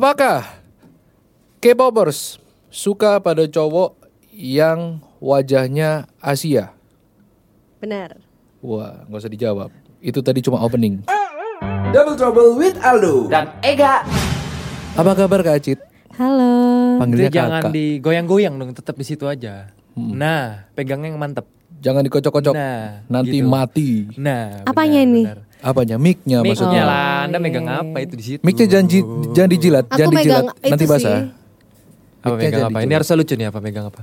Apakah K-popers suka pada cowok yang wajahnya Asia? Benar. Wah, nggak usah dijawab. Itu tadi cuma opening. Double Trouble with Aldo dan Apa kabar Kak Acit? Halo. Panggilnya Jadi jangan kakak. digoyang-goyang dong, tetap di situ aja. Nah, pegangnya yang mantep. Jangan dikocok-kocok. Nah, Nanti gitu. mati. Nah, Apanya ini? Apanya? Mic-nya maksudnya. Maksudnya lah, anda megang apa itu di situ? Mic-nya jangan, ji- Oh. jangan dijilat, Aku jangan dijilat. megang itu Nanti sih. basah. Apa Mic-nya megang jangan apa? Ini dijilat. harusnya lucu nih apa megang apa?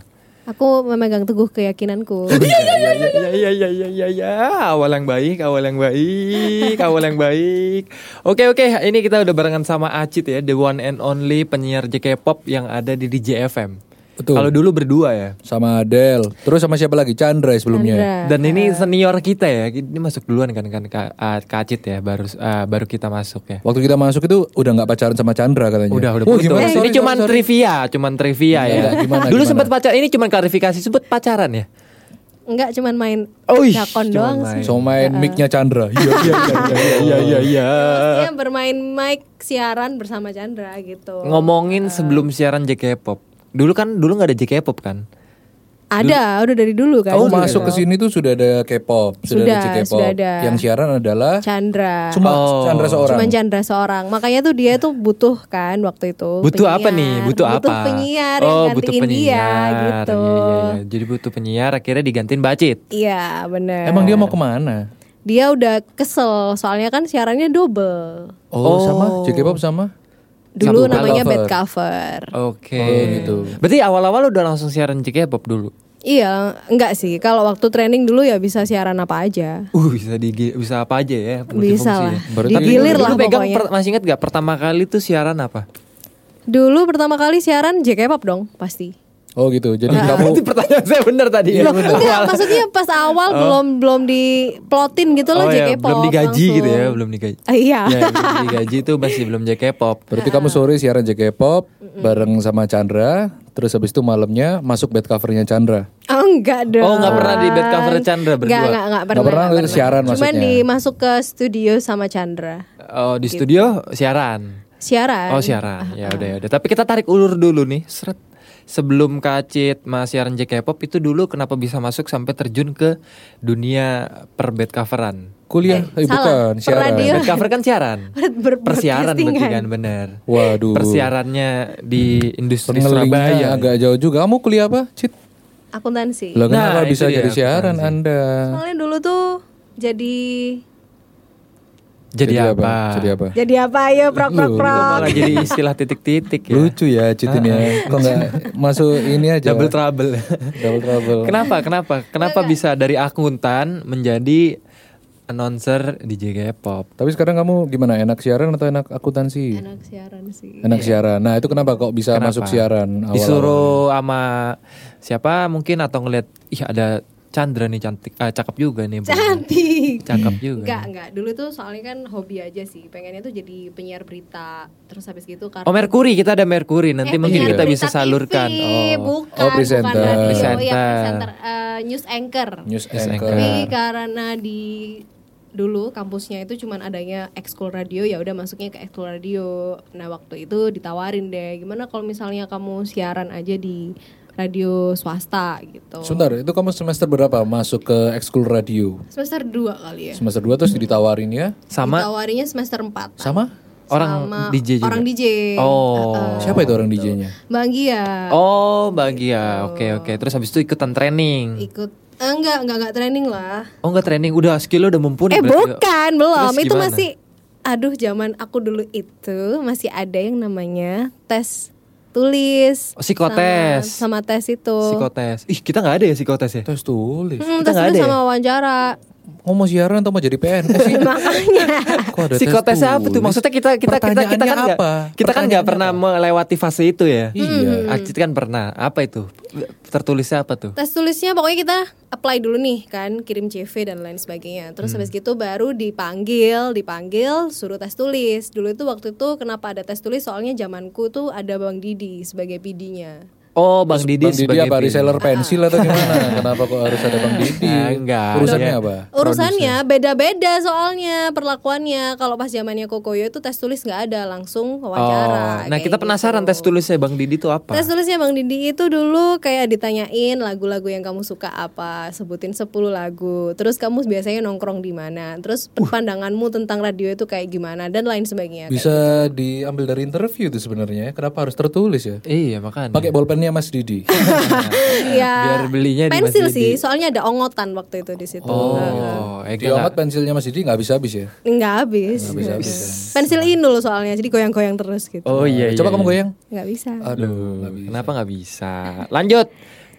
Aku memegang teguh keyakinanku. Iya iya iya iya iya iya ya. awal yang baik, awal yang baik, awal yang baik. Oke oke, ini kita udah barengan sama Acit ya, the one and only penyiar JK-pop yang ada di DJFM. Betul. Kalau dulu berdua ya. Sama Adele. Terus sama siapa lagi? Chandra sebelumnya. Benar. Dan ini senior kita ya, ini masuk duluan kan kan Ka- ah, Kak Acit ya, baru ah, baru kita masuk ya. Waktu kita masuk itu udah nggak pacaran sama Chandra katanya. Udah udah Oh, putus. gimana? Eh, Sorry, ini cuman sorry, sorry. trivia, cuman trivia ya. Enggak, gimana, Dulu gimana? sempat pacar, ini cuman klarifikasi sempat pacaran ya. Enggak cuman main Oh, ih, lakon cuman doang main. sih. So main mic-nya Chandra. Iya iya iya. Iya iya iya. Maksudnya bermain mic siaran bersama Chandra gitu. Ngomongin sebelum siaran JK-pop. Dulu kan dulu nggak ada JK-pop kan? Ada, udah dari dulu kan. Kamu masuk ke sini tuh sudah ada K-pop, sudah, ada Sudah, K-pop. sudah ada. Yang siaran adalah Chandra. cuma Oh. Chandra seorang. Cuman Chandra seorang. Makanya tuh dia tuh butuh kan waktu itu. Butuh penyiar. apa nih? Butuh, apa? penyiar yang oh, gantiin butuh dia penyiar. gitu. Iya, iya, iya. Jadi butuh penyiar akhirnya digantiin Bacit. Iya, benar. Emang dia mau kemana? Dia udah kesel soalnya kan siarannya double. Oh, sama J-K-pop sama? Dulu Satu namanya cover. bad cover. Oke. Oh, gitu. Berarti awal-awal udah langsung siaran JK-pop dulu. Iya, enggak sih. Kalau waktu training dulu ya bisa siaran apa aja. Uh bisa di bisa apa aja ya Bisa multifungsi lah. ya. Berarti- Tapi Digilir dulu lah pegang pokoknya. per- masih ingat gak pertama kali tuh siaran apa? Dulu pertama kali siaran JK-pop dong, pasti. Oh gitu. Jadi kamu Berarti pertanyaan saya benar tadi Iya, ya. Loh, enggak, maksudnya pas awal belum belum diplotin gitu loh Oh ya, JK-pop. belum digaji langsung. gitu ya, belum digaji. Eh, iya. ya, belum digaji itu masih belum JK-pop. Berarti kamu sore siaran J-K-pop bareng sama Chandra, terus habis itu malamnya masuk bed covernya Chandra. Oh, enggak dong. Oh, enggak pernah di bed cover Chandra berdua? Enggak, enggak, enggak pernah. pernah enggak siaran Cuman maksudnya. dimasuk ke studio sama Chandra. Oh, di studio siaran. Gitu. Siaran. Ah. Oh, siaran. Ya udah ya udah. Tapi kita tarik ulur dulu nih. Seret. Sebelum kacit mas siaran JK-pop itu dulu kenapa bisa masuk sampai terjun ke dunia per bed coveran? Kuliah, eh, Eh, salah. bukan siaran. Perradio. Bed cover kan siaran. Iya. Ber- Persiaran berarti broadcastingan. kan bener. Waduh. Persiarannya di industri Pengelilingnya Surabaya. agak jauh juga. Kamu kuliah apa, Cit? Akuntansi. Lah Nah, kenapa itu bisa dia, jadi siaran akuntansi. Anda? Soalnya dulu tuh jadi Jadi, apa? Jadi apa? jadi apa ayo prok prok prok. Malah jadi istilah titik-titik ya. Lucu ya Cit ini ya. Kok nggak masuk ini aja? Double trouble. Double trouble. kenapa? Kenapa? Kenapa bisa dari akuntan menjadi announcer di JKpop? Tapi sekarang kamu gimana? Enak siaran atau enak akuntansi? Anak siaran sih. Enak siaran. Nah itu kenapa kok bisa masuk siaran? awal-awal? Disuruh sama siapa mungkin atau ngeliat ih ada Chandra nih cantik ah, cakep juga nih. Bu. Cantik. Cakep juga. Enggak, enggak. Dulu tuh soalnya kan hobi aja sih. Pengennya tuh jadi penyiar berita. Terus habis gitu karena Oh Merkuri, kita ada Merkuri Oh, Eh, nanti mungkin penyiar kita berita bisa TV, salurkan. Oh. Oh, Bukan, presenter. bukan radio, ya, Presenter. presenter, eh, news anchor. News News anchor. Tapi karena di dulu kampusnya itu cuman adanya ekskul radio ya udah masuknya ke ekskul radio. Nah, waktu itu ditawarin deh, gimana kalau misalnya kamu siaran aja di radio swasta gitu. Sebentar, itu kamu semester berapa masuk ke ekskul radio? Semester 2 kali ya. Semester 2 terus ditawarin ya? Sama Ditawarinya semester 4. Sama? orang DJ juga. Orang DJ. Oh. Siapa itu orang DJ-nya? Mbak Anggia. Oh, bahagia. Oke, Iya. oke. Terus habis itu ikutan training. ikut eh, enggak enggak enggak training lah Oh, enggak training, udah skill udah mumpuni. eh berarti. bukan belum Terus itu gimana? masih aduh zaman aku dulu itu masih ada yang namanya tes tulis Oh, psikotes. sama, sama tes itu Psikotes. Ih, kita nggak ada ya psikotes ya? Tes tulis. Hmm, tes Kita nggak tulis ada ya? sama wawancara Ngomong siaran atau mau jadi Eh, PN? sih? makanya Kok ada tes Psikotes apa tuh? tulis? Maksudnya kita kita kita kita kan Pertanyaannya nggak apa? kita kan Pertanyaannya nggak pernah melewati fase itu ya. Iya. Acit kan pernah. Apa itu? Tertulisnya apa tuh? tes tulisnya pokoknya kita apply dulu nih kan kirim CV dan lain sebagainya terus habis gitu baru dipanggil dipanggil suruh tes tulis dulu itu waktu itu kenapa ada tes tulis soalnya zamanku tuh ada bang Didi sebagai PD-nya Oh, Bang Didi Bang Didi sebagai Oh. apa pin- reseller pensil atau gimana? Kenapa kok harus ada Bang Didi? Ah, enggak. Urusannya Iya. apa? Urusannya beda-beda soalnya perlakuannya. Kalau pas zamannya Kokoyo itu tes tulis nggak ada, langsung wawancara. Oh, nah kayak kita penasaran gitu. tes tulisnya Bang Didi itu apa? Tes tulisnya Bang Didi itu dulu kayak ditanyain lagu-lagu yang kamu suka apa, sebutin 10 lagu. Terus kamu biasanya nongkrong di mana? Terus Uh. pandanganmu tentang radio itu kayak gimana dan lain sebagainya. Bisa diambil dari interview itu sebenarnya. Kenapa harus tertulis ya? Iya, makanya. Pakai bolpennya Mas Didi. Iya. biar belinya di Pensil Mas Didi. sih, soalnya ada ongotan waktu itu di situ. Oh, eh, enggak. Diomat pensilnya Mas Didi nggak bisa habis ya? Nggak habis. Nggak habis-habis ya. Pensil inul soalnya, jadi goyang-goyang terus gitu. Oh iya. Coba iya, kamu iya. goyang. Nggak bisa. Aduh, nggak bisa. Kenapa nggak bisa? Lanjut.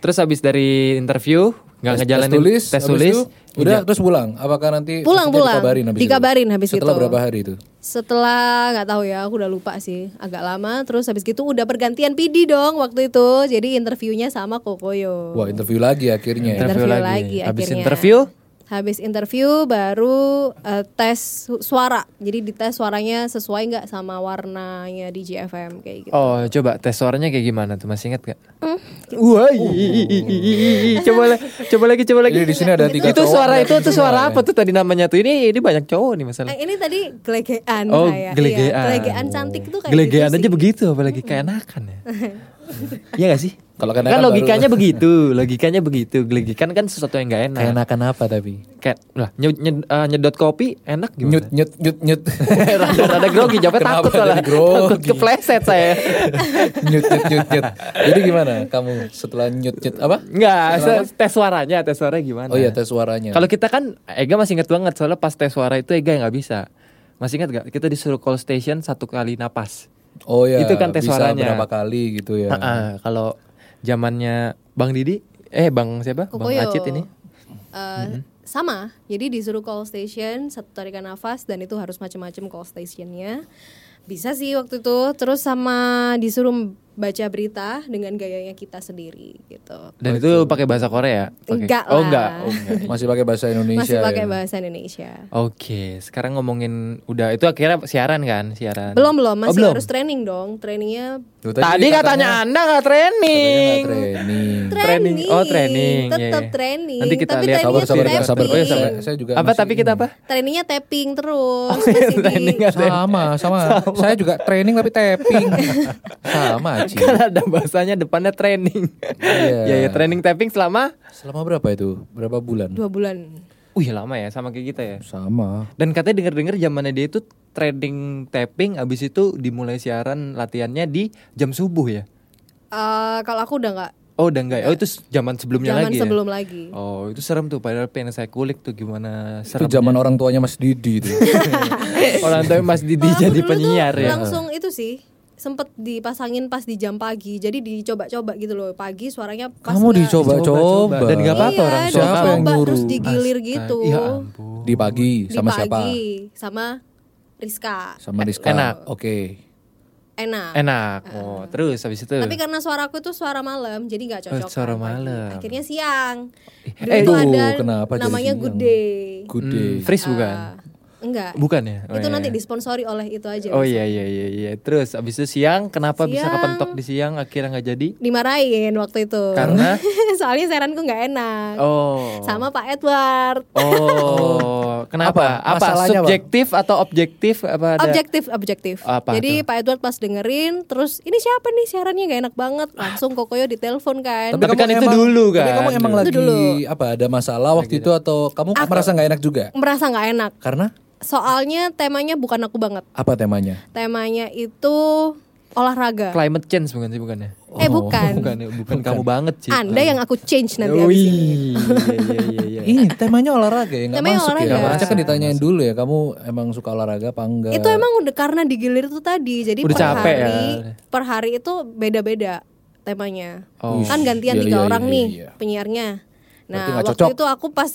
Terus habis dari interview nggak ngejalanin tes tulis, tes habis tulis. itu udah terus pulang. Apakah nanti Pulang, maksudnya pulang. dikabarin habis Dikabarin itu? habis Setelah itu. berapa hari itu? Setelah nggak tahu ya, aku udah lupa sih, agak lama. Terus habis gitu udah pergantian PD dong waktu itu. Jadi interviewnya sama Kokoyo. Wah, interview lagi akhirnya. ya. Interview, Interview lagi. lagi. Habis akhirnya. interview? Habis interview baru eh, tes su- suara. Jadi dites suaranya sesuai nggak sama warnanya di JFM kayak gitu. Oh, coba tes suaranya kayak gimana tuh? Masih ingat gak? Wah, i- i- i- i- i- coba la- coba lagi, coba lagi. Jadi di sini ada tiga Oh. Itu cowok, suara ada itu itu tiga suara cewek. apa tuh tadi namanya tuh? Ini ini banyak cowok nih masalah. Eh, ini tadi gelegean Oh, saya. Iya, gelegean. gelegean cantik tuh kayak Gelegean gitu aja sih. begitu apalagi keenakan ya. Iya gak sih? Kalau kan, keenakan baru- logikanya begitu, logikanya begitu. Gelegekan kan sesuatu yang gak enak. Enakan apa tapi? Kayak lah nyed- nyed- eh, nyedot kopi enak gimana? Nyut nyut nyut nyut. Rada-rada grogi, jawabnya Kenapa takut soalnya. jadi grogi? Takut kepleset saya. nyut nyut nyut nyut. Jadi gimana kamu setelah nyut nyut apa? Enggak, se- tes suaranya, tes suaranya gimana? Oh iya tes suaranya. Kalau kita kan Ega masih ingat banget soalnya pas tes suara itu Ega yang nggak bisa. Masih ingat gak? Kita disuruh call station satu kali napas. Oh ya, Itu kan tes bisa suaranya. berapa kali gitu ya. Ah, kalau zamannya Bang Didi, eh Bang siapa? Kokoyo. Bang Acit ini. Eh, Mm-hmm. sama. Jadi disuruh call station, satu tarikan nafas dan itu harus macam-macam call stationnya. Bisa sih waktu itu. Terus sama disuruh baca berita dengan gayanya kita sendiri gitu. Oh, Dan itu pakai bahasa Korea? Pakai- Enggak Oh lah. enggak. Oh, enggak. Masih pakai bahasa Indonesia. Masih pakai ya? bahasa Indonesia. Oke, sekarang ngomongin udah itu akhirnya siaran kan, siaran. Belum belum, masih Oh, belum. harus training dong. Trainingnya Tuh, Tadi kan- katanya Anda nggak katanya training. nggak training. Training. Training. Oh, training. Iya, Tetap iya. training. Nanti kita Tapi lihat. Sabar trainingnya sabar tuh sabar sabar. Oh, ya, sabar. tapping. Saya juga Apa masih tapi kita apa? Trainingnya tapping terus. iya, masih di- training nggak training? sama, sama Saya juga training tapi tapping. sama Aci. Kan ada bahasanya depannya training. Iya. Iya, ya, training tapping selama Selama berapa itu? Berapa bulan? dua bulan. Wih lama ya sama kayak kita ya. Sama. Dan katanya denger-denger zamannya dia itu trading tapping abis itu dimulai siaran latihannya di jam subuh ya. Eh, kalau aku udah nggak Oh udah enggak. ya? Oh itu s- zaman sebelumnya zaman lagi. ya? sebelum lagi. Oh itu serem tuh padahal pengen saya kulik tuh gimana Itu serem. zaman orang tuanya Mas Didi itu. Orang tua Mas Didi Kalau aku jadi dulu tuh penyiar ya. Langsung itu sih sempet dipasangin pas di jam pagi. Jadi dicoba-coba gitu loh. Pagi suaranya pas Kamu nggak- dicoba-coba. Dan nggak apa-apa Iya, orang tua siapa tahu. yang dicoba nyuruh? terus digilir gitu. Ya ampun. Di pagi Di sama pagi siapa? sama Rizka. Sama Rizka. Enak. Oke. Enak. Enak. Oh terus habis itu. Ah. Tapi karena suaraku tuh suara malam, jadi nggak cocok. kan Oh, suara malam. Akhirnya siang. Dulu Eh, tuh aduh, ada kenapa jadi namanya siang? Good Day. Good day. Hmm, freeze bukan? Ah, enggak. Bukan ya? Oh, itu iya, nanti iya. disponsori oleh itu aja. Oh iya iya iya iya. Terus abis itu siang kenapa bisa Siang. kepentok di siang akhirnya nggak jadi? dimarahin waktu itu Karena? soalnya saranku nggak enak Oh. sama Pak Edward Oh. kenapa? Apa? Apa, Masalahnya, Bang? subjektif atau objektif apa ada? objektif objektif Apa jadi tuh? Pak Edward pas dengerin terus ini siapa nih siarannya nggak enak banget langsung Kokoyo ditelepon kan Ah. Tapi kan kamu itu gitu. dulu Tapi kan? kamu emang Itu lagi dulu. apa ada masalah waktu itu atau kamu merasa nggak enak juga? merasa nggak enak Karena soalnya temanya bukan aku banget apa temanya? temanya itu olahraga Climate change bukan sih bukannya? eh bukan, Bukan, ya, bukan, kamu banget sih. anda yang aku change nanti Wih, abis ini. iya, iya, iya, iya. Ini temanya olahraga ya, nggak Temanya masuk olahraga. ya. Harusnya kan ditanyain dulu ya, kamu emang suka olahraga apa enggak? itu emang udah karena digilir itu tadi jadi Udah per capek ya. hari per hari itu beda-beda temanya Oh. kan gantian Iya, tiga iya, orang iya, nih iya. penyiarnya nah Berarti nggak waktu cocok. itu aku pas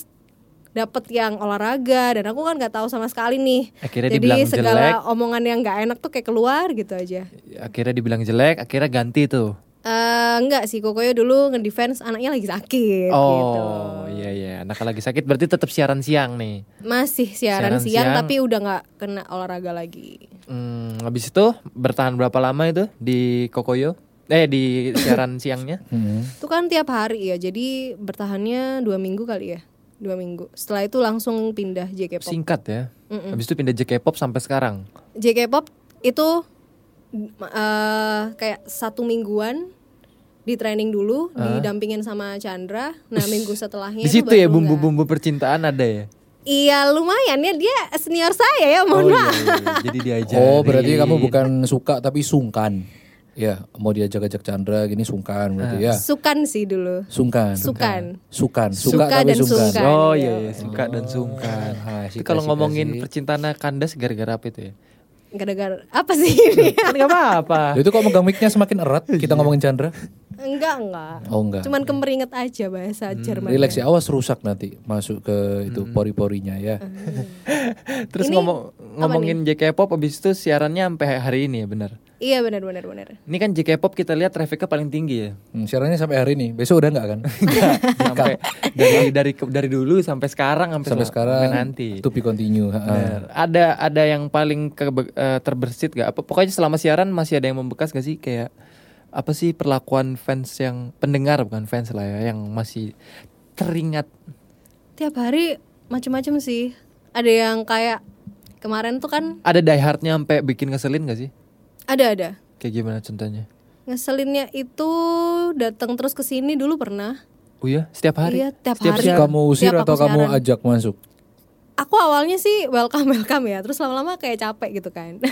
dapet yang olahraga dan aku kan nggak tahu sama sekali nih Akhirnya jadi dibilang segala jelek. omongan yang nggak enak tuh kayak keluar gitu aja Akhirnya dibilang jelek, akhirnya ganti tuh. Eh enggak sih Kokoyo dulu ngedefense anaknya lagi sakit gitu Oh, iya iya. Anak lagi sakit berarti tetap siaran siang nih. masih siaran, Siaran siang, siang. tapi udah nggak kena olahraga lagi Hmm, habis itu bertahan berapa lama itu di Kokoyo? eh di siaran siangnya. Hmm. Itu kan tiap hari ya, jadi bertahannya dua minggu kali ya, dua minggu. Setelah itu langsung pindah JKPop. Singkat ya. Mm-mm. Habis itu pindah J-K-pop sampai sekarang. JKPop itu eh, kayak satu mingguan di training dulu, didampingin sama Chandra. Nah minggu setelahnya Ah. Di itu situ baru ya nggak- bumbu-bumbu percintaan ada ya. Iya lumayan ya dia senior saya ya mohon iya, maaf. iya, iya. Jadi diajak. Oh berarti kamu bukan suka tapi sungkan. Ya mau diajak-ajak Chandra gini sungkan berarti Ah. iya. ya. Sukan sih dulu. Sungkan. Sukan. Sukan. Suka, Suka tapi dan sungkan. sungkan. Oh iya, iya. suka dan sungkan. Ah, Tapi sika, kalau sika, ngomongin sika. percintaan kandas gara-gara apa itu ya? Gara-gara apa sih ini? Kan nggak apa-apa. Loh, Itu kok megang mic-nya semakin erat Iya. kita ngomongin Chandra. enggak enggak. Oh enggak. Cuman kemeringet aja bahasa Hmm, Jerman. Relax ya, awas rusak nanti masuk ke itu pori-porinya ya. Hmm. Terus Ini ngomong apa ngomongin J-K-pop abis itu siarannya sampai hari ini ya benar. Iya benar benar benar. Ini kan J-K-pop kita lihat trafficnya paling tinggi ya. Hmm, siarannya sampai hari ini. Besok udah enggak kan? sampai dari dari dari dulu sampai sekarang sampai, Sampai sel- sekarang sampai nanti. to be continue. ha, ha. Bener. Ada ada yang paling kebe- eh, terbersit gak? Apa pokoknya selama siaran masih ada yang membekas gak sih kayak apa sih perlakuan fans yang pendengar bukan fans lah ya yang masih teringat Tiap hari macam-macam sih. Ada yang kayak kemarin tuh kan ada diehardnya sampai bikin ngeselin gak sih? ada ada. Kayak gimana contohnya? Ngeselinnya itu datang terus ke sini dulu pernah. Oh iya, setiap hari. Iya, tiap setiap hari. Terus siaran. kamu usir Siap, aku atau kamu siaran. ajak masuk? Aku awalnya sih welcome welcome ya, terus lama-lama kayak capek gitu kan.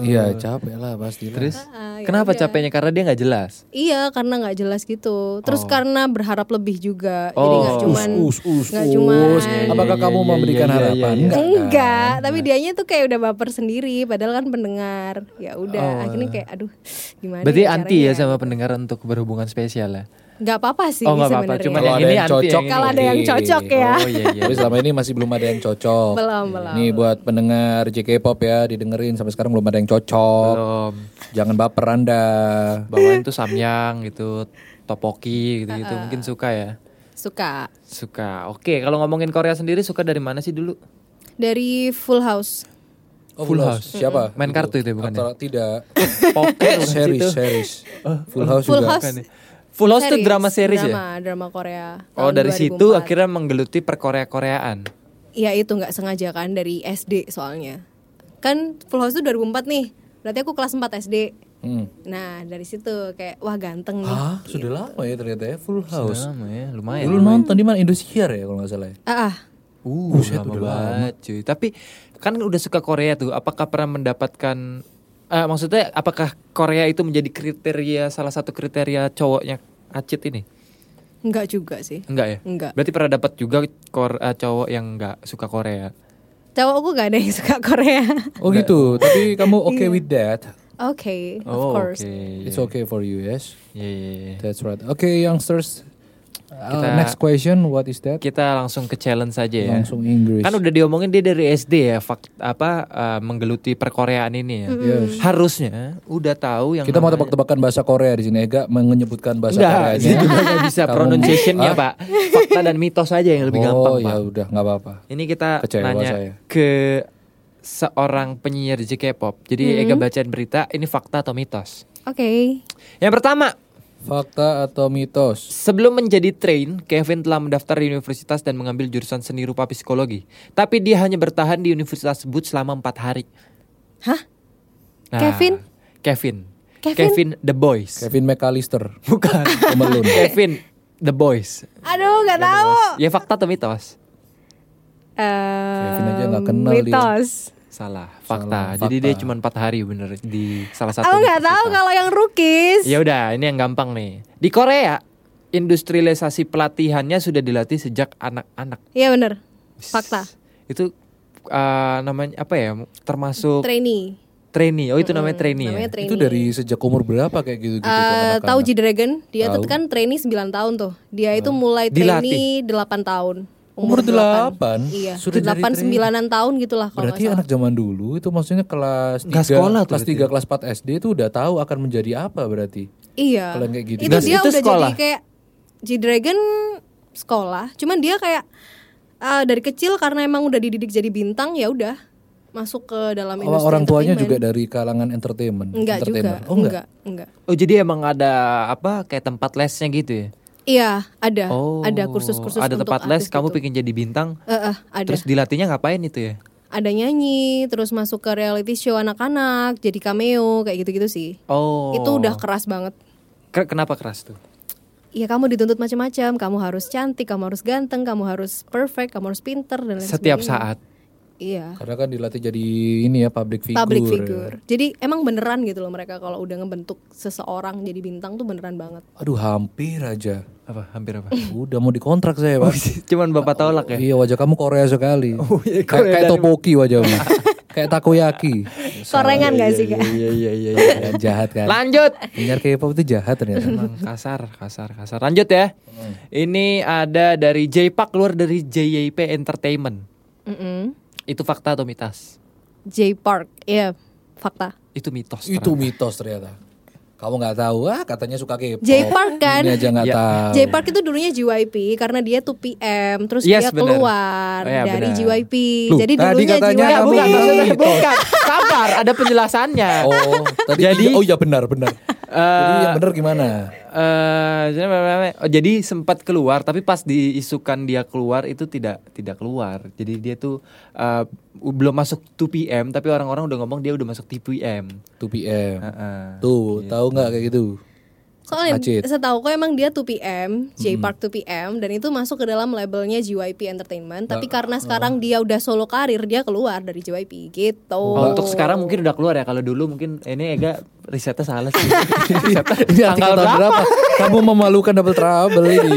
Iya, capek lah pasti. Terus Ah, ya kenapa udah. capeknya karena dia nggak jelas. Iya, karena nggak jelas gitu. Terus karena berharap lebih juga, jadi Oh. nggak cuman us us nggak us. cuman Apakah Iya, kamu iya, iya, memberikan iya, iya, harapan? iya. Enggak. enggak, tapi nah. dianya tuh kayak udah baper sendiri, padahal kan pendengar. Ya udah, akhirnya kayak aduh gimana? Oh. Berarti caranya? anti ya sama pendengar untuk berhubungan spesial ya. Nggak apa-apa Iya, sih Oh, nggak apa-apa, sebenarnya. cuman Kalau ada Yang ini yang anti, cocok, yang Kalau ada yang oke. cocok ya. Oh iya iya. Tapi selama ini masih belum ada yang cocok. Belum, belum. Ini buat pendengar JK-pop ya, didengerin sampai sekarang belum ada yang cocok. Belum. Jangan baper Anda. Bawaan tuh samyang gitu, topoki Ah, gitu-gitu mungkin suka ya. Suka Suka. Oke, kalau ngomongin Korea sendiri suka dari mana sih dulu? dari Full House. Oh, Full House. Siapa? Main kartu itu ya, bukan ya? Atau tidak? Poker bukan sih series, itu? series. Full House Full juga. House. Bukan ya? Full House tuh drama series ya? drama, Drama Korea. Oh, tahun dari situ 2004. akhirnya menggeluti perkorea-koreaan. Ya itu nggak sengaja kan dari SD soalnya. Kan Full House itu 2004 nih. Berarti aku kelas 4 SD. Hmm. Nah, dari situ kayak wah ganteng nih. Hah, sudah lama ya ternyata ya Full House. Drama ya, Iya. lumayan. Dulu nonton di mana Indosiar ya kalau nggak salah. ya? Ah, ah. Uh, lama banget cuy. Tapi kan udah suka Korea tuh. Apakah pernah mendapatkan eh, maksudnya apakah Korea itu menjadi kriteria salah satu kriteria cowoknya Acit ini? Enggak juga sih. Enggak ya? Enggak. Berarti pernah dapat juga kor- eh, cowok yang enggak suka Korea. Cowokku gak ada yang suka Korea. Oh gitu. Tapi kamu okay Iya. with that? Oke, of Oh, course. Oke. It's okay for you, yes. Iya, iya, iya. That's right. Okay, youngsters. Uh, Kita- next question, what is that? Kita langsung ke challenge saja ya. Langsung Inggris. Kan udah diomongin dia dari SD ya, fak- apa eh, menggeluti perkoreaan ini ya. Harusnya udah tahu yang Kita mau namanya- tebak-tebakan bahasa Korea di sini. Ega menyebutkan bahasa Enggak, Koreanya. saya juga nggak bisa Kamu- pronunciationnya pak Fakta dan mitos aja yang lebih gampang Oh pak ya udah nggak apa-apa. Ini kita Kecewa nanya saya. ke seorang penyiar JKPop Jadi Hmm. Ega bacain berita, ini fakta atau mitos Oke. Yang pertama, Fakta atau mitos? sebelum menjadi train Kevin telah mendaftar di universitas dan mengambil jurusan seni rupa psikologi Tapi dia hanya bertahan di universitas tersebut selama empat hari Hah? Nah, Kevin? Kevin Kevin? The Boys Kevin McAllister. Bukan Kemelun. Kevin The Boys Aduh, gak tahu. Ya fakta atau mitos? Kevin aja nggak Em, kenal dia. Eh, mitos. Salah, fakta. Jadi fakta. dia cuma empat hari bener di salah satu. Aku nggak tahu universitas. kalau yang rookies. Ya udah, ini yang gampang nih. Di Korea, industrialisasi pelatihannya sudah dilatih sejak anak-anak. Iya bener. Fakta. Itu eh, namanya apa ya? Termasuk Trainee. trainee. Oh, itu namanya trainee ya. Namanya Itu trainee. dari sejak umur berapa kayak gitu-gitu? tuh Eh, anak-anak? tahu G-Dragon? Tahu. Dia Ah. tuh kan trainee 9 tahun tuh. Dia itu mulai trainee Dilatih. 8 tahun. Umur delapan? Iya. Sudah jadi 8 trainee. 9 tahun gitulah kalau Berarti nggak salah. anak zaman dulu itu maksudnya kelas Nggak 3, sekolah tuh kelas berarti. 3, kelas 4 SD itu udah tahu akan menjadi apa berarti. Iya. Kalau yang kayak gitu. Itu Dan dia itu udah sekolah? jadi kayak G-Dragon sekolah. Cuman dia kayak eh, dari kecil karena emang udah dididik jadi bintang ya udah. masuk ke dalam Oh, industri orang tuanya entertainment. juga dari kalangan entertainment. enggak juga entertainer. Oh, enggak. enggak enggak Oh jadi emang ada apa kayak tempat lesnya gitu ya? iya ada Oh ada kursus-kursus Ada untuk tempat les artis kamu gitu. pengen jadi bintang. Eh, eh, ada Terus dilatihnya ngapain itu ya? ada nyanyi terus masuk ke reality show anak-anak jadi cameo kayak gitu-gitu sih Oh. itu udah keras banget Ke- kenapa keras tuh? ya kamu dituntut macam-macam kamu harus cantik kamu harus ganteng kamu harus perfect kamu harus pinter dan lain Setiap sebagainya. saat. iya Karena kan dilatih jadi ini ya public figure. public figure jadi emang beneran gitu loh mereka kalau udah ngebentuk seseorang jadi bintang tuh beneran banget Aduh hampir aja. Apa? Hampir apa? Udah mau dikontrak saya, Pak. Cuman bapak Oh, tolak iya. ya. Iya wajah kamu Korea sekali. iya, kayak Korea kayak dari- topoki wajahmu. kayak takoyaki. korengan gak sih kak Iya iya iya. iya. Dan jahat kan. Lanjut. Penyiar K-pop itu jahat ternyata. Emang kasar, kasar, kasar. Lanjut ya. Ini ada dari J-Pak keluar dari JYP Entertainment. Mm-mm. Itu fakta atau mitos? J Park ya fakta Itu mitos. itu mitos ternyata. Kamu nggak tahu ah katanya suka K-pop. J Park kan Ini aja nggak Ya. tahu. J Park itu dulunya JYP karena dia tuh PM terus Yes, dia bener. keluar Oh, ya, dari bener. JYP. Loh, Jadi tadi dulunya katanya Enggak, JYP. kami- bukan, Mitos. maksudnya bukan. Sabar, ada penjelasannya. Oh, tadi Jadi- oh ya benar benar. Jadi yang benar gimana? Eh, jadi memang- oh, jadi sempat keluar tapi pas diisukan dia keluar itu tidak tidak keluar. Jadi dia tuh eh, belum masuk 2 PM tapi orang-orang udah ngomong dia udah masuk 2 PM. 2 PM. Heeh. Iya. Tuh, tahu nggak kayak gitu? Soalnya Acit. setahu aku emang dia 2PM, J Park 2PM dan itu masuk ke dalam labelnya JYP Entertainment. Ah, Tapi karena sekarang dia udah solo karir, dia keluar dari JYP gitu. Oh, Untuk sekarang mungkin udah keluar ya. Kalau dulu mungkin ini Ega risetnya salah sih. Risetnya Ini artikel tanggal tahun berapa? berapa? Kamu memalukan double trouble ini.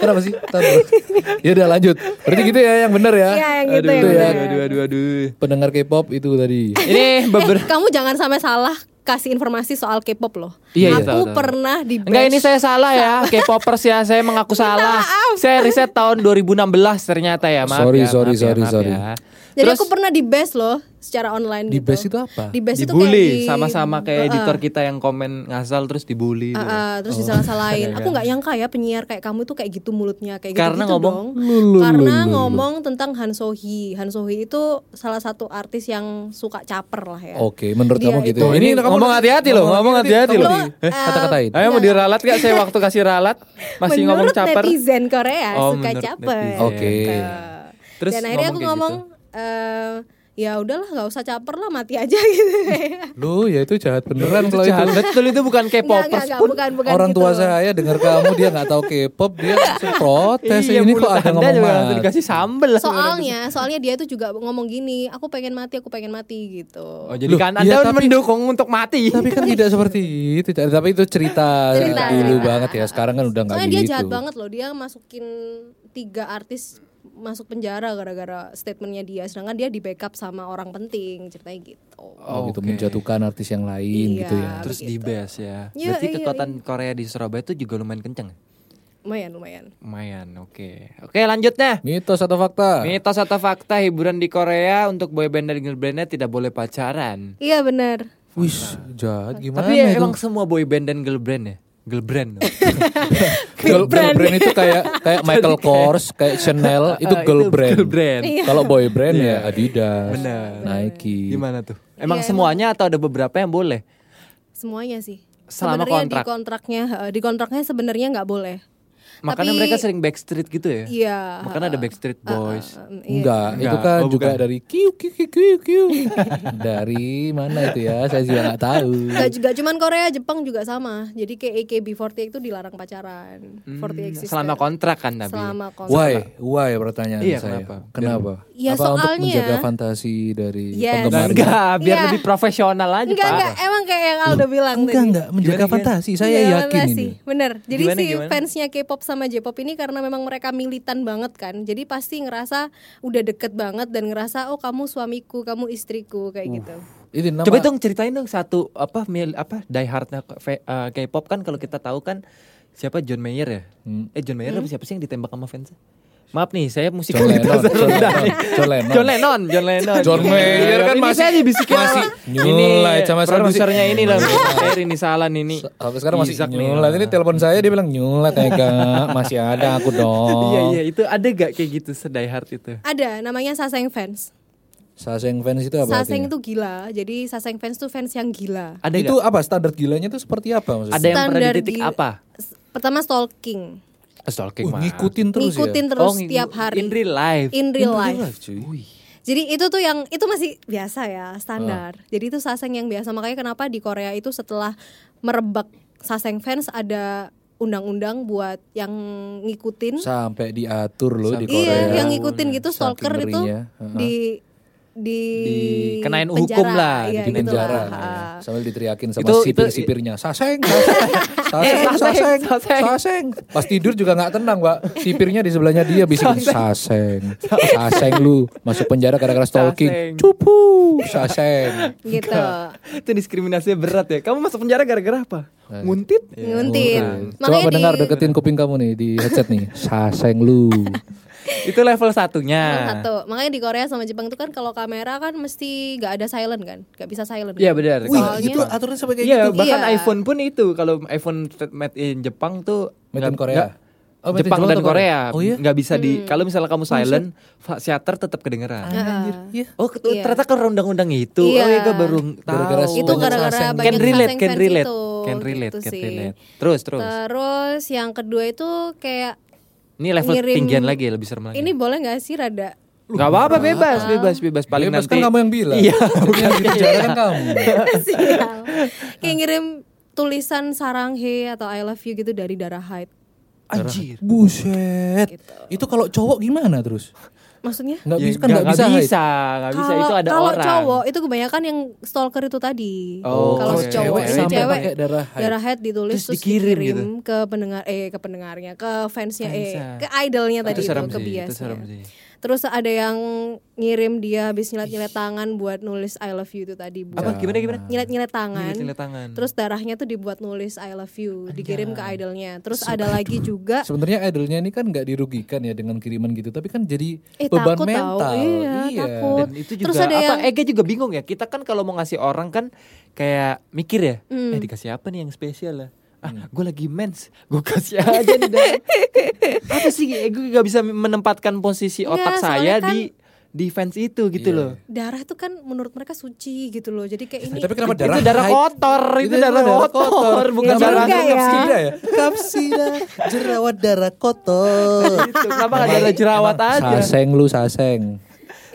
Kenapa sih? Tahun berapa? Ya udah lanjut. Berarti gitu ya yang benar ya. Iya, yang gitu Aduh, yang Itu ya. bener. aduh, aduh, aduh. Pendengar K-pop itu tadi. Ini Eh, beber. kamu jangan sampai salah kasih informasi soal K-pop loh. Iya, iya, tahu, aku tahu. pernah di Enggak ini saya salah ya, K-popers ya, saya mengaku salah. Saya riset tahun 2016 ternyata ya, maaf Sorry, ya, sorry, maaf ya, sorry, maaf sorori. ya. Jadi Terus aku pernah di base loh secara online Di gitu. base itu apa? Di base itu kayak Ah, dibully di- sama-sama kayak Heeh. editor kita yang komen ngasal terus Ah, dibully. gitu. ah, terus disalah-salahin. Aku nggak nyangka ya penyiar kayak kamu tuh kayak gitu mulutnya kayak gitu. Karena ngomong, dong. Karena ngomong tentang Han Sohee. Han Sohee itu salah satu artis yang suka caper lah ya. Oke, menurut Dia kamu gitu. itu- ya? Ini ngomong hati-hati loh, ngomong hati-hati kamu loh. di- eh, Kata-katain. Ayo mau diralat gak saya waktu kasih ralat masih ngomong menurut caper. netizen Korea Oh, suka menurut caper. netizen. Oke. Gitu. Terus Dan akhirnya aku ngomong kayak gitu? ngomong eh, ya udahlah nggak usah caper lah mati aja gitu. Lu ya itu jahat beneran Itu kalau jahat, itu. betul itu bukan Nggak, nggak, K-popers nggak, pun. bukan, bukan Orang gitu. tua saya dengar kamu dia nggak tahu K-pop dia langsung protes Iya, ini mulut kok ada Anda ngomong juga langsung mati. dikasih sambel lah sebenarnya. Soalnya, soalnya dia itu juga ngomong gini, aku pengen mati, aku pengen mati gitu. Oh, jadi Loh, kan iya, Anda tapi- mendukung untuk mati. Tapi kan tidak seperti itu, tapi itu cerita, Cerita, dulu cerita. banget ya. Sekarang kan udah nggak Soalnya gitu. dia jahat banget loh, dia masukin tiga artis masuk penjara gara-gara statementnya dia, sedangkan dia di backup sama orang penting ceritanya gitu. Oh, gitu Oke. menjatuhkan artis yang lain Iya. gitu ya. Terus di begitu. base ya. Iya, Berarti iya, kekuatan Korea di Surabaya itu juga lumayan kenceng. ya? Lumayan, lumayan. Lumayan, oke. Oke, lanjutnya. ya. Mitos atau fakta? Mitos atau fakta hiburan di Korea untuk boyband dan girlbandnya tidak boleh pacaran. Iya benar. Wis, jahat gimana Tapi ya itu? emang semua boyband dan girlband ya? Girlband. girl, girl brand itu kayak kayak Michael Kors, kayak Chanel, Oh, itu girl brand. girlbrand. Iya. Kalau boy brand ya Adidas, Iya. Benar. Nike. Gimana tuh? Emang Iya, semuanya atau ada beberapa yang boleh? Semuanya sih. Selama sebenarnya kontrak. di kontraknya, eh, di kontraknya sebenarnya nggak boleh. Makanya Tapi- mereka sering backstreet gitu ya? Iya. Makanya ada backstreet boys. Mm, iya. Enggak, itu Enggak. kan Oh, juga bukan. dari kiu kiu kiu kiu kiu. dari mana itu ya? Saya juga nggak tahu. Nggak juga cuman Korea, Jepang juga sama. Jadi kayak AKB48 itu dilarang pacaran. 48 sister. Hmm, Selama kontrak kan Nabi? Selama kontrak. Why? Why pertanyaan Iya, saya? kenapa? Kenapa? Ya, Apa untuk soalnya- menjaga fantasi dari Yes. Nah, penggemarnya? enggak, biar Iya. lebih profesional aja, Enggak, Pak. enggak, emang kayak yang Aldo bilang Enggak, tadi. enggak, menjaga fantasi. Nah, ya, Saya Iya, yakin bener ini. sih, Bener. Jadi Gimana, si gimana? fansnya K-pop sama J-pop ini karena memang mereka militan banget kan. Jadi pasti ngerasa udah deket banget dan ngerasa oh kamu suamiku, kamu istriku Uh. kayak gitu. Itu nama Coba dong ceritain dong satu apa mil, apa die hardnya K- fe- eh, K-pop kan kalau kita tahu kan siapa John Mayer ya? Hmm. Eh John Mayer apa Hmm? siapa sih yang ditembak sama fansnya? Maaf nih, saya John Lennon, musikalitas John rendah Lennon, nih. John Lennon. John Lennon, John Lennon. John Mayer kan Ini masih- saya dibisikin masih sama- nyulai sama saya produsernya masih- ini lah. John Mayer ini salah nih ini. Sampai sekarang masih Isaac nih. nyulat ini telepon saya dia bilang nyulat Ega masih ada aku dong. Oh. Iya iya itu ada gak kayak gitu sedai hard itu? Ada namanya Saseng fans. Saseng fans itu apa? artinya? Saseng itu gila. Jadi Saseng fans tuh fans yang gila. Ada itu nggak? apa standar gilanya itu seperti apa maksudnya? Ada yang pernah Standar di titik di- apa? S- Pertama stalking. Stalking Uh, ngikutin terus ngikutin ya. terus Oh, ngiku- tiap hari. in real life. In real life. cuy. Jadi itu tuh yang itu masih biasa ya, standar. Jadi itu saseng yang biasa. Makanya kenapa di Korea itu setelah merebak saseng fans ada undang-undang buat yang ngikutin. Sampai diatur loh di Sampai- Korea. Iya, yang ngikutin gitu Saking stalker itu ngerinya, heeh. di di Dikenain penjara. hukum lah, Iya, di gitu penjara lah. ya. sambil diteriakin sama Itu- itu- sipir-sipirnya saseng saseng saseng saseng saseng." saseng pas tidur juga nggak tenang pak sipirnya di sebelahnya dia bisikin saseng saseng lu masuk penjara gara-gara Saseng. stalking cupu saseng Gitu. Itu diskriminasinya berat ya. Kamu masuk penjara gara-gara apa? Nah, Nguntit? gitu. Iya, Iya. Nguntin. coba Makanya pendengar di deketin kuping kamu nih di headset nih saseng lu Itu level satunya. satu. Makanya di Korea sama Jepang itu kan kalau kamera kan mesti nggak ada silent kan? nggak bisa silent. Iya kan? benar. Wih, Kalau- itu aturan sampai Iya, bahkan Iya. iPhone pun itu kalau iPhone made in Jepang tuh Made in nggak- Korea? nggak- Oh, made in Jepang Jepang dan atau Korea? Korea Oh, iya? nggak bisa di Hmm. kalau misalnya kamu silent, fa- shutter tetap kedengeran. Oh, ketu- Ah. Iya. ternyata karena undang-undang itu. Iya. Oh, iya gue baru tahu. Gara-gara itu Banyak gara-gara saseng. banyak can relate, saseng can fans relate, itu, can relate, gitu can sih. Eh, relate. Terus, terus. Terus yang kedua itu kayak Ini level ngirim- tinggian lagi lebih serem lagi. ini boleh nggak sih rada Gak apa-apa bebas, bebas, bebas. Paling Bebas nanti kan kamu yang bilang Iya, Tapi yang di penjara kan kamu Sial. kayak ngirim tulisan sarang he atau I love you gitu dari darah hide Anjir. Buset. Gitu. Itu kalau cowok gimana terus? maksudnya Nggak Ya, bisa kan nggak- nggak bisa. nggak Haid. bisa, nggak bisa. kalau itu ada kalau orang. cowok itu kebanyakan yang stalker itu tadi Oh, kalau oke. si cowok Cewek si sampai cewek pakai darah hide. darah hide ditulis Terus terus, dikirim gitu? dikirim, ke pendengar eh ke pendengarnya ke fansnya eh Fansnya. ke idolnya tadi itu, serem ke sih, itu biasnya serem sih. terus ada yang ngirim dia habis nyilet-nyilet tangan buat nulis I love you itu tadi buat Apa gimana gimana? nyilet-nyilet tangan. Nyilet-nyilet tangan. Terus darahnya tuh dibuat nulis I love you, dikirim ke idolnya. Terus ada lagi juga Sebenarnya idolnya ini kan nggak dirugikan ya dengan kiriman gitu, tapi kan jadi eh beban takut mental. tau. Iya, takut. Dan itu juga Terus ada apa yang Ega juga bingung ya. Kita kan kalau mau ngasih orang kan kayak mikir ya, Hmm. eh dikasih apa nih yang spesial lah. Ah, gue lagi mens, gue kasih aja di dalam. apa sih? Eh, gue gak bisa menempatkan posisi Enggak, otak saya soalnya kan- di di fans itu gitu loh. darah itu kan menurut mereka suci gitu loh. Jadi kayak ini Tapi kenapa Itu darah? darah haid? kotor, itu darah kotor, bukan Iya darah juga ya. kapsida ya. Kapsida, jerawat darah kotor. Gitu, Kenapa gak darah jerawat aja? Saseng lu saseng.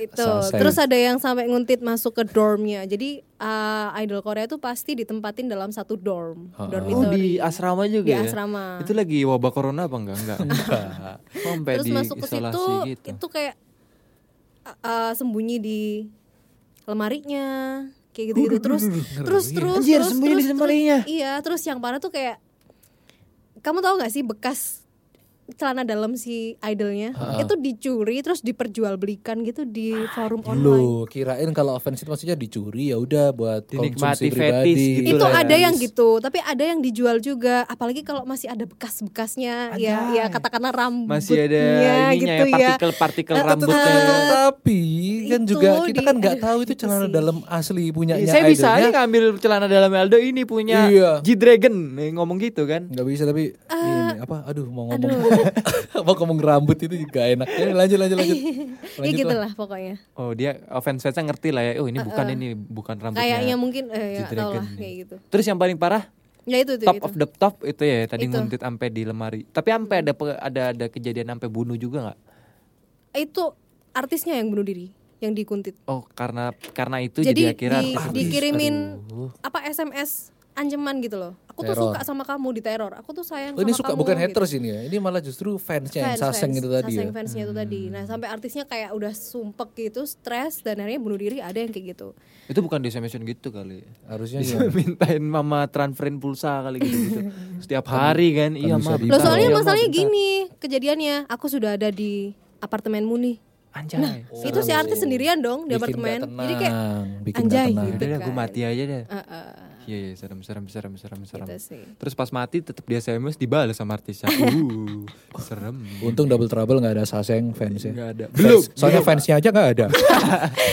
itu. Saseng. Terus ada yang sampai nguntit masuk ke dormnya. Jadi eh, idol Korea tuh pasti ditempatin dalam satu dorm. Oh Dormitory. di asrama juga Gitu, Di ya? asrama. Itu lagi wabah corona apa enggak? Enggak. Sampai Terus di masuk ke isolasi situ gitu. itu kayak eh, eh, sembunyi di lemarinya kayak gitu-gitu terus terus terus Anjir, terus, sembunyi di terus, lemarinya. terus, iya terus yang parah tuh kayak kamu tahu nggak sih bekas celana dalam si idolnya itu dicuri terus diperjualbelikan gitu di forum Lu online kirain kalau fans itu maksudnya dicuri ya udah buat konsumsi Dinikmati fetis pribadi. gitu itu lah ya. ada yang gitu tapi ada yang dijual juga apalagi kalau masih ada bekas-bekasnya ya ya katakanlah rambutnya Masih ada ininya gitu ya, partikel-partikel Eh, rambutnya. eh, Tapi kan Itu juga kita di- kan nggak tahu itu itu celana sih. dalam asli punyanya. Iya, Saya bisa idolnya. aja ngambil celana dalam Aldo ini punya Iya. G-Dragon Eh, ngomong gitu kan. Gak bisa tapi Eh, ini, apa aduh mau ngomong mau ngomong rambut itu juga enak. Ya, lanjut lanjut lanjut. ya Lanjut gitu lah. lah pokoknya Oh, dia offense fansnya ngerti lah ya. Oh, ini bukan ini bukan rambutnya. kayaknya mungkin eh, ya, G-Dragon tau lah nih. kayak gitu Terus yang paling parah ya itu itu, top itu. of the top itu ya tadi Itu. nguntit sampai di lemari. Tapi sampai ada pe- ada ada kejadian sampai bunuh juga nggak? itu artisnya yang bunuh diri yang dikuntit Oh, karena karena itu jadi, jadi, akhirnya di- artis itu- dikirimin Aduh. apa SMS ancaman gitu loh aku tuh Teror. suka sama kamu diteror aku tuh sayang Oh, ini sama suka kamu, bukan gitu. haters ini ya. Ini malah justru fansnya yang Fans, saseng fans, itu tadi. saseng ya. fansnya itu tadi nah sampai artisnya kayak udah sumpek gitu stres dan akhirnya bunuh diri ada yang kayak gitu Itu bukan di SMS gitu kali. Harusnya Bisa ya. mintain mama transferin pulsa kali gitu, Setiap hari kan. Iya, bisa Ma. di- loh Bentar, soalnya iya, masalahnya gini kejadiannya aku sudah ada di apartemenmu nih Anjay. Nah, itu si artis sendirian dong di Oh, iya Bikin apartemen nggak jadi kayak tenang, bikin nggak anjay tenang. gitu Udah gue kan. mati aja deh. Eh, eh, Iya, iya, serem, serem, serem, serem, serem. gitu sih Terus pas mati tetap di SMS dibalas sama artisnya. Uh, serem. Untung double trouble nggak ada saseng fansnya. Nggak ada. Belum, Fans- Soalnya fansnya aja nggak ada.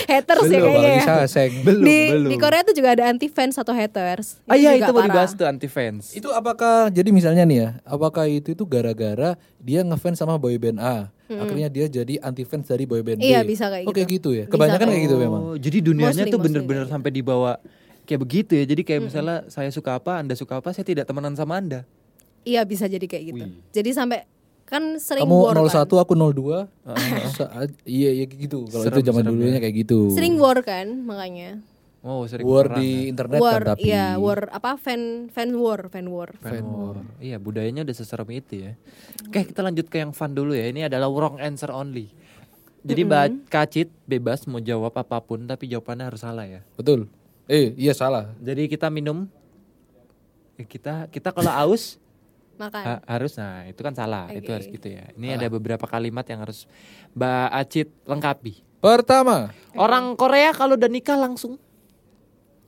haters ya kayaknya Apalagi ya. saseng. di, di Korea tuh juga ada anti fans atau haters. Ah iya itu juga mau parah. dibahas tuh anti fans. Itu apakah jadi misalnya nih ya, apakah itu itu gara-gara dia ngefans sama boyband A, akhirnya dia jadi anti fans dari boyband Hmm. Iya, B. bisa kayak Oke gitu. gitu ya. Bisa Kebanyakan kayak kayak gitu memang. Oh, jadi dunianya Mostly, mostly tuh iya, bener-bener kayak sampai dibawa kayak begitu ya. Jadi kayak misalnya saya suka apa, Anda suka apa, saya tidak temenan sama Anda. Iya bisa jadi kayak gitu. Jadi sampai kan sering Kamu war 01 kan. aku 02. Saat iya iya gitu. Kalau itu zaman dulunya kayak gitu. Sering war kan makanya. Oh, ya. sering War perang. di internet War, kan tapi. iya war apa fan fan war, fan war. Fan war. Iya, budayanya udah seserem itu ya. Oke, kita lanjut ke yang fun dulu ya. Ini adalah wrong answer only. Jadi ba- kacit bebas mau jawab apapun tapi jawabannya harus salah ya. Betul. Eh, iya salah. Jadi kita minum eh, kita kita kalau aus Makan. ha- harus nah itu kan salah. Itu Oke. harus gitu ya. Ini ada beberapa kalimat yang harus Mbak Acit lengkapi. Pertama. Orang Korea kalau udah nikah langsung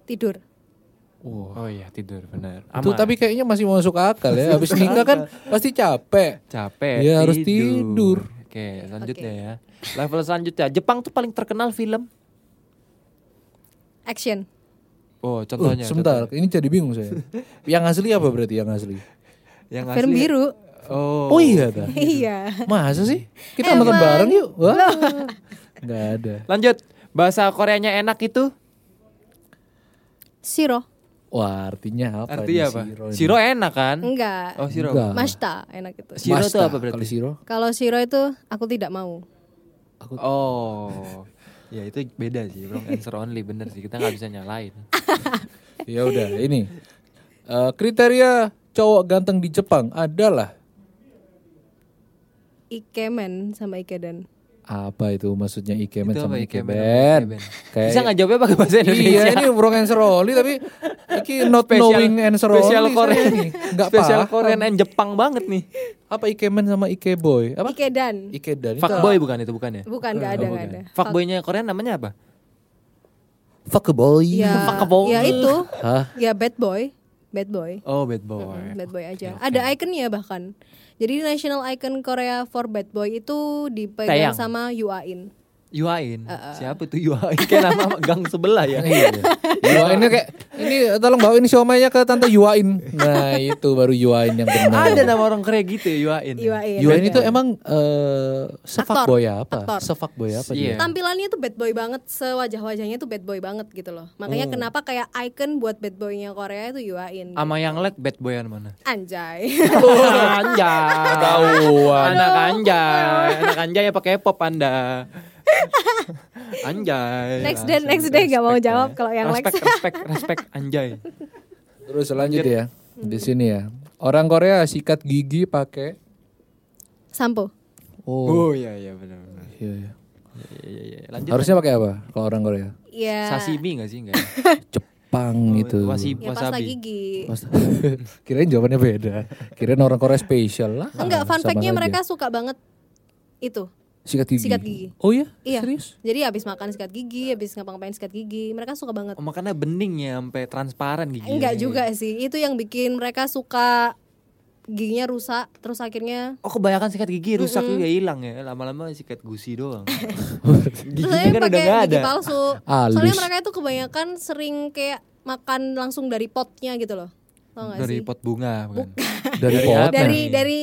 Tidur. Wah. Oh iya tidur benar. Itu tapi kayaknya masih masuk akal ya. Habis nikah kan pasti capek. capek. Iya, harus tidur. Oke selanjutnya ya. Level selanjutnya Jepang tuh paling terkenal film. Action. Oh Uh, contohnya. sebentar, ini jadi bingung saya. Yang asli apa berarti yang asli? contoh- Yang Film asli- biru. Oh. Oh, iya dah. Iya. Masa sih? Eh, Kita nonton bareng yuk. Wah. Enggak ada. Lanjut bahasa Koreanya enak itu Siro. Wah, artinya apa? ini artinya apa? Siro ini? Siro enak kan? Enggak. Oh siro. Enggak. Mashta enak itu. Siro Masta. tuh apa berarti? Kalau Siro, Kalau Siro itu aku tidak mau. Oh. ya itu beda sih wrong answer only bener sih kita nggak bisa nyalain. ya udah ini. Eh, kriteria cowok ganteng di Jepang adalah Ikemen sama Ikeden. apa itu maksudnya ikemen Itu sama apa, ikemen sama ikeben? ikeben? Kayak Bisa nggak jawabnya pakai bahasa Indonesia? Iya ini wrong answer only tapi iki not Spesial- knowing answer only. spesial saya Korea ini. Nggak spesial paham. Korean and Jepang banget nih. Apa ikemen sama ikeboy? Apa? Hmm. Ikedan. Ikedan. itu- Fuckboy bukan itu bukan ya? Bukan enggak ada enggak ada. Fuckboynya Korean namanya apa? Fuckboy. Ya, Fuckable. ya itu. Hah? Ya bad boy. Bad boy. Oh bad boy. Mm, Bad boy aja. Ada ikonnya bahkan. Jadi national icon Korea for bad boy itu dipegang Taeyang. sama UAIN. Yuain. Siapa tuh Yuain? Kayak nama gang sebelah ya. Yuain Iya, ini kayak ini tolong bawain siomanya ke tante Yuain. Nah, itu baru Yuain yang benar. Ada nama orang Korea gitu ya Yuain. UAIN. Yuain itu emang eh sefak Aktor. boy apa? Aktor. Sefak boy apa dia? Iya. Tampilannya tuh bad boy banget, sewajah-wajahnya tuh bad boy banget gitu loh. Oh. Makanya kenapa kayak icon buat bad boynya Korea itu Ah. UAIN. Sama yang lag bad boyan mana? Anjay. anjay. Tahuan. Anak anjay. Anak anjay apa K-pop Anda? Anjay. Next day, Langsung next day nggak mau Iya, respect jawab ya. kalau yang Lex. respect, respect, respect anjay. Terus lanjut ya. Di sini ya. Orang Korea sikat gigi pakai Sampo. Oh. Oh iya iya benar benar. Iya, iya. Iya iya iya. Lanjut. Harusnya pakai apa kalau orang Korea? Ya. Sashimi enggak sih enggak? Eh. Jepang itu. Wasi, Ya pas wasabi. lagi gigi. Mas- Kirain jawabannya beda. Kirain orang Korea spesial lah. Enggak, fun Sama fact-nya saja. mereka suka banget itu. sikat gigi. sikat gigi. Oh iya? Iya. Serius? Jadi habis makan sikat gigi, habis ngapa-ngapain sikat gigi, mereka suka banget. Oh, iya, makanya bening ya sampai transparan gigi. ya. Enggak juga sih. Itu yang bikin mereka suka giginya rusak terus akhirnya Oh kebanyakan sikat gigi rusak juga hilang ya lama-lama sikat gusi doang. terus Giginya akhirnya kan udah pakai nggak gigi ada. palsu. Halus. Soalnya mereka itu kebanyakan sering kayak makan langsung dari potnya gitu loh. Tau gak Dari sih? pot bunga. bukan? Dari Dari pot. apa? Dari Nah. dari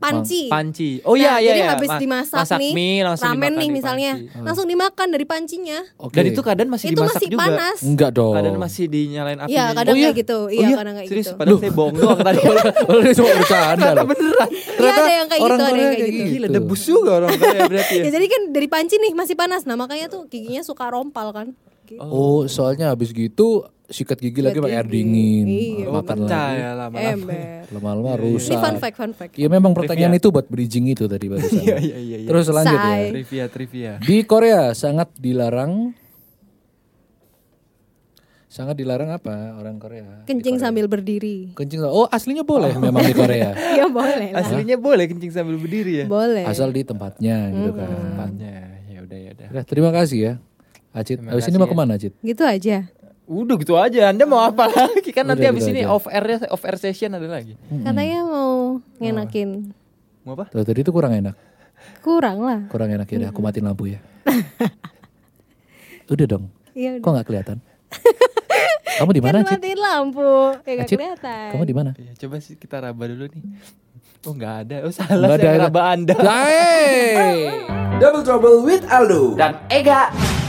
panci. Panci. Oh iya Nah, iya Jadi iya. habis Ma- dimasak masak nih, mie, langsung ramen dimakan nih di misalnya, panci. langsung dimakan dari pancinya. Oke. kan? Dan itu keadaan masih itu dimasak masih juga. panas. Enggak dong. Kadang masih Oh, dinyalain api. Iya, kadang iya? kayak gitu. Iya, kadang kayak Serius, gitu. padahal saya bohong doang tadi. Padahal dia cuma bercanda loh. Beneran. Ternyata ada yang kayak orang Korea gitu, ada yang kayak kayak gitu. gitu. Gila, debus juga orang Korea berarti Iya. ya. Ya jadi kan dari panci nih masih panas. Nah, makanya tuh giginya suka rompal kan. Gitu. Oh, soalnya habis gitu sikat gigi lagi pakai air gigi. dingin. Iya, Oh, Makan pecah lagi. ya lama-lama. Ember. Lama-lama Ini fun rusak. fact, fun fact. Iya memang pertanyaan itu buat bridging itu tadi barusan. Iya, iya, iya, iya. Terus lanjut ya. Say. Trivia, trivia. Di Korea sangat dilarang sangat dilarang apa orang Korea? Kencing sambil berdiri. Kencing. Oh, aslinya boleh memang di Korea. Ya boleh lah. Aslinya boleh kencing sambil berdiri ya? Boleh. Asal di tempatnya gitu kan. Tempatnya. Ya udah, ya udah. Udah, terima kasih ya. Acit, abis ini mau ya. kemana Acit? Gitu aja. Udah gitu aja. Anda mau apa lagi? Kan nanti Udah, habis gitu ini aja. off air off air session ada lagi. Katanya mau ngenakin. Mau apa? Tuh, tadi itu kurang enak. Kurang lah. Kurang enak ya, udah, aku matiin lampu ya. Udah dong. Iya Kok udah. nggak kelihatan? Kamu di mana, Kan Acit? matiin lampu. Ya gak Acit, kelihatan. Kamu di mana? Iya, Ya, coba sih kita raba dulu nih. Oh nggak ada. Oh salah Nggak ada. saya ngeraba Anda. Lah, eh. Double Trouble with Aldo dan Ega.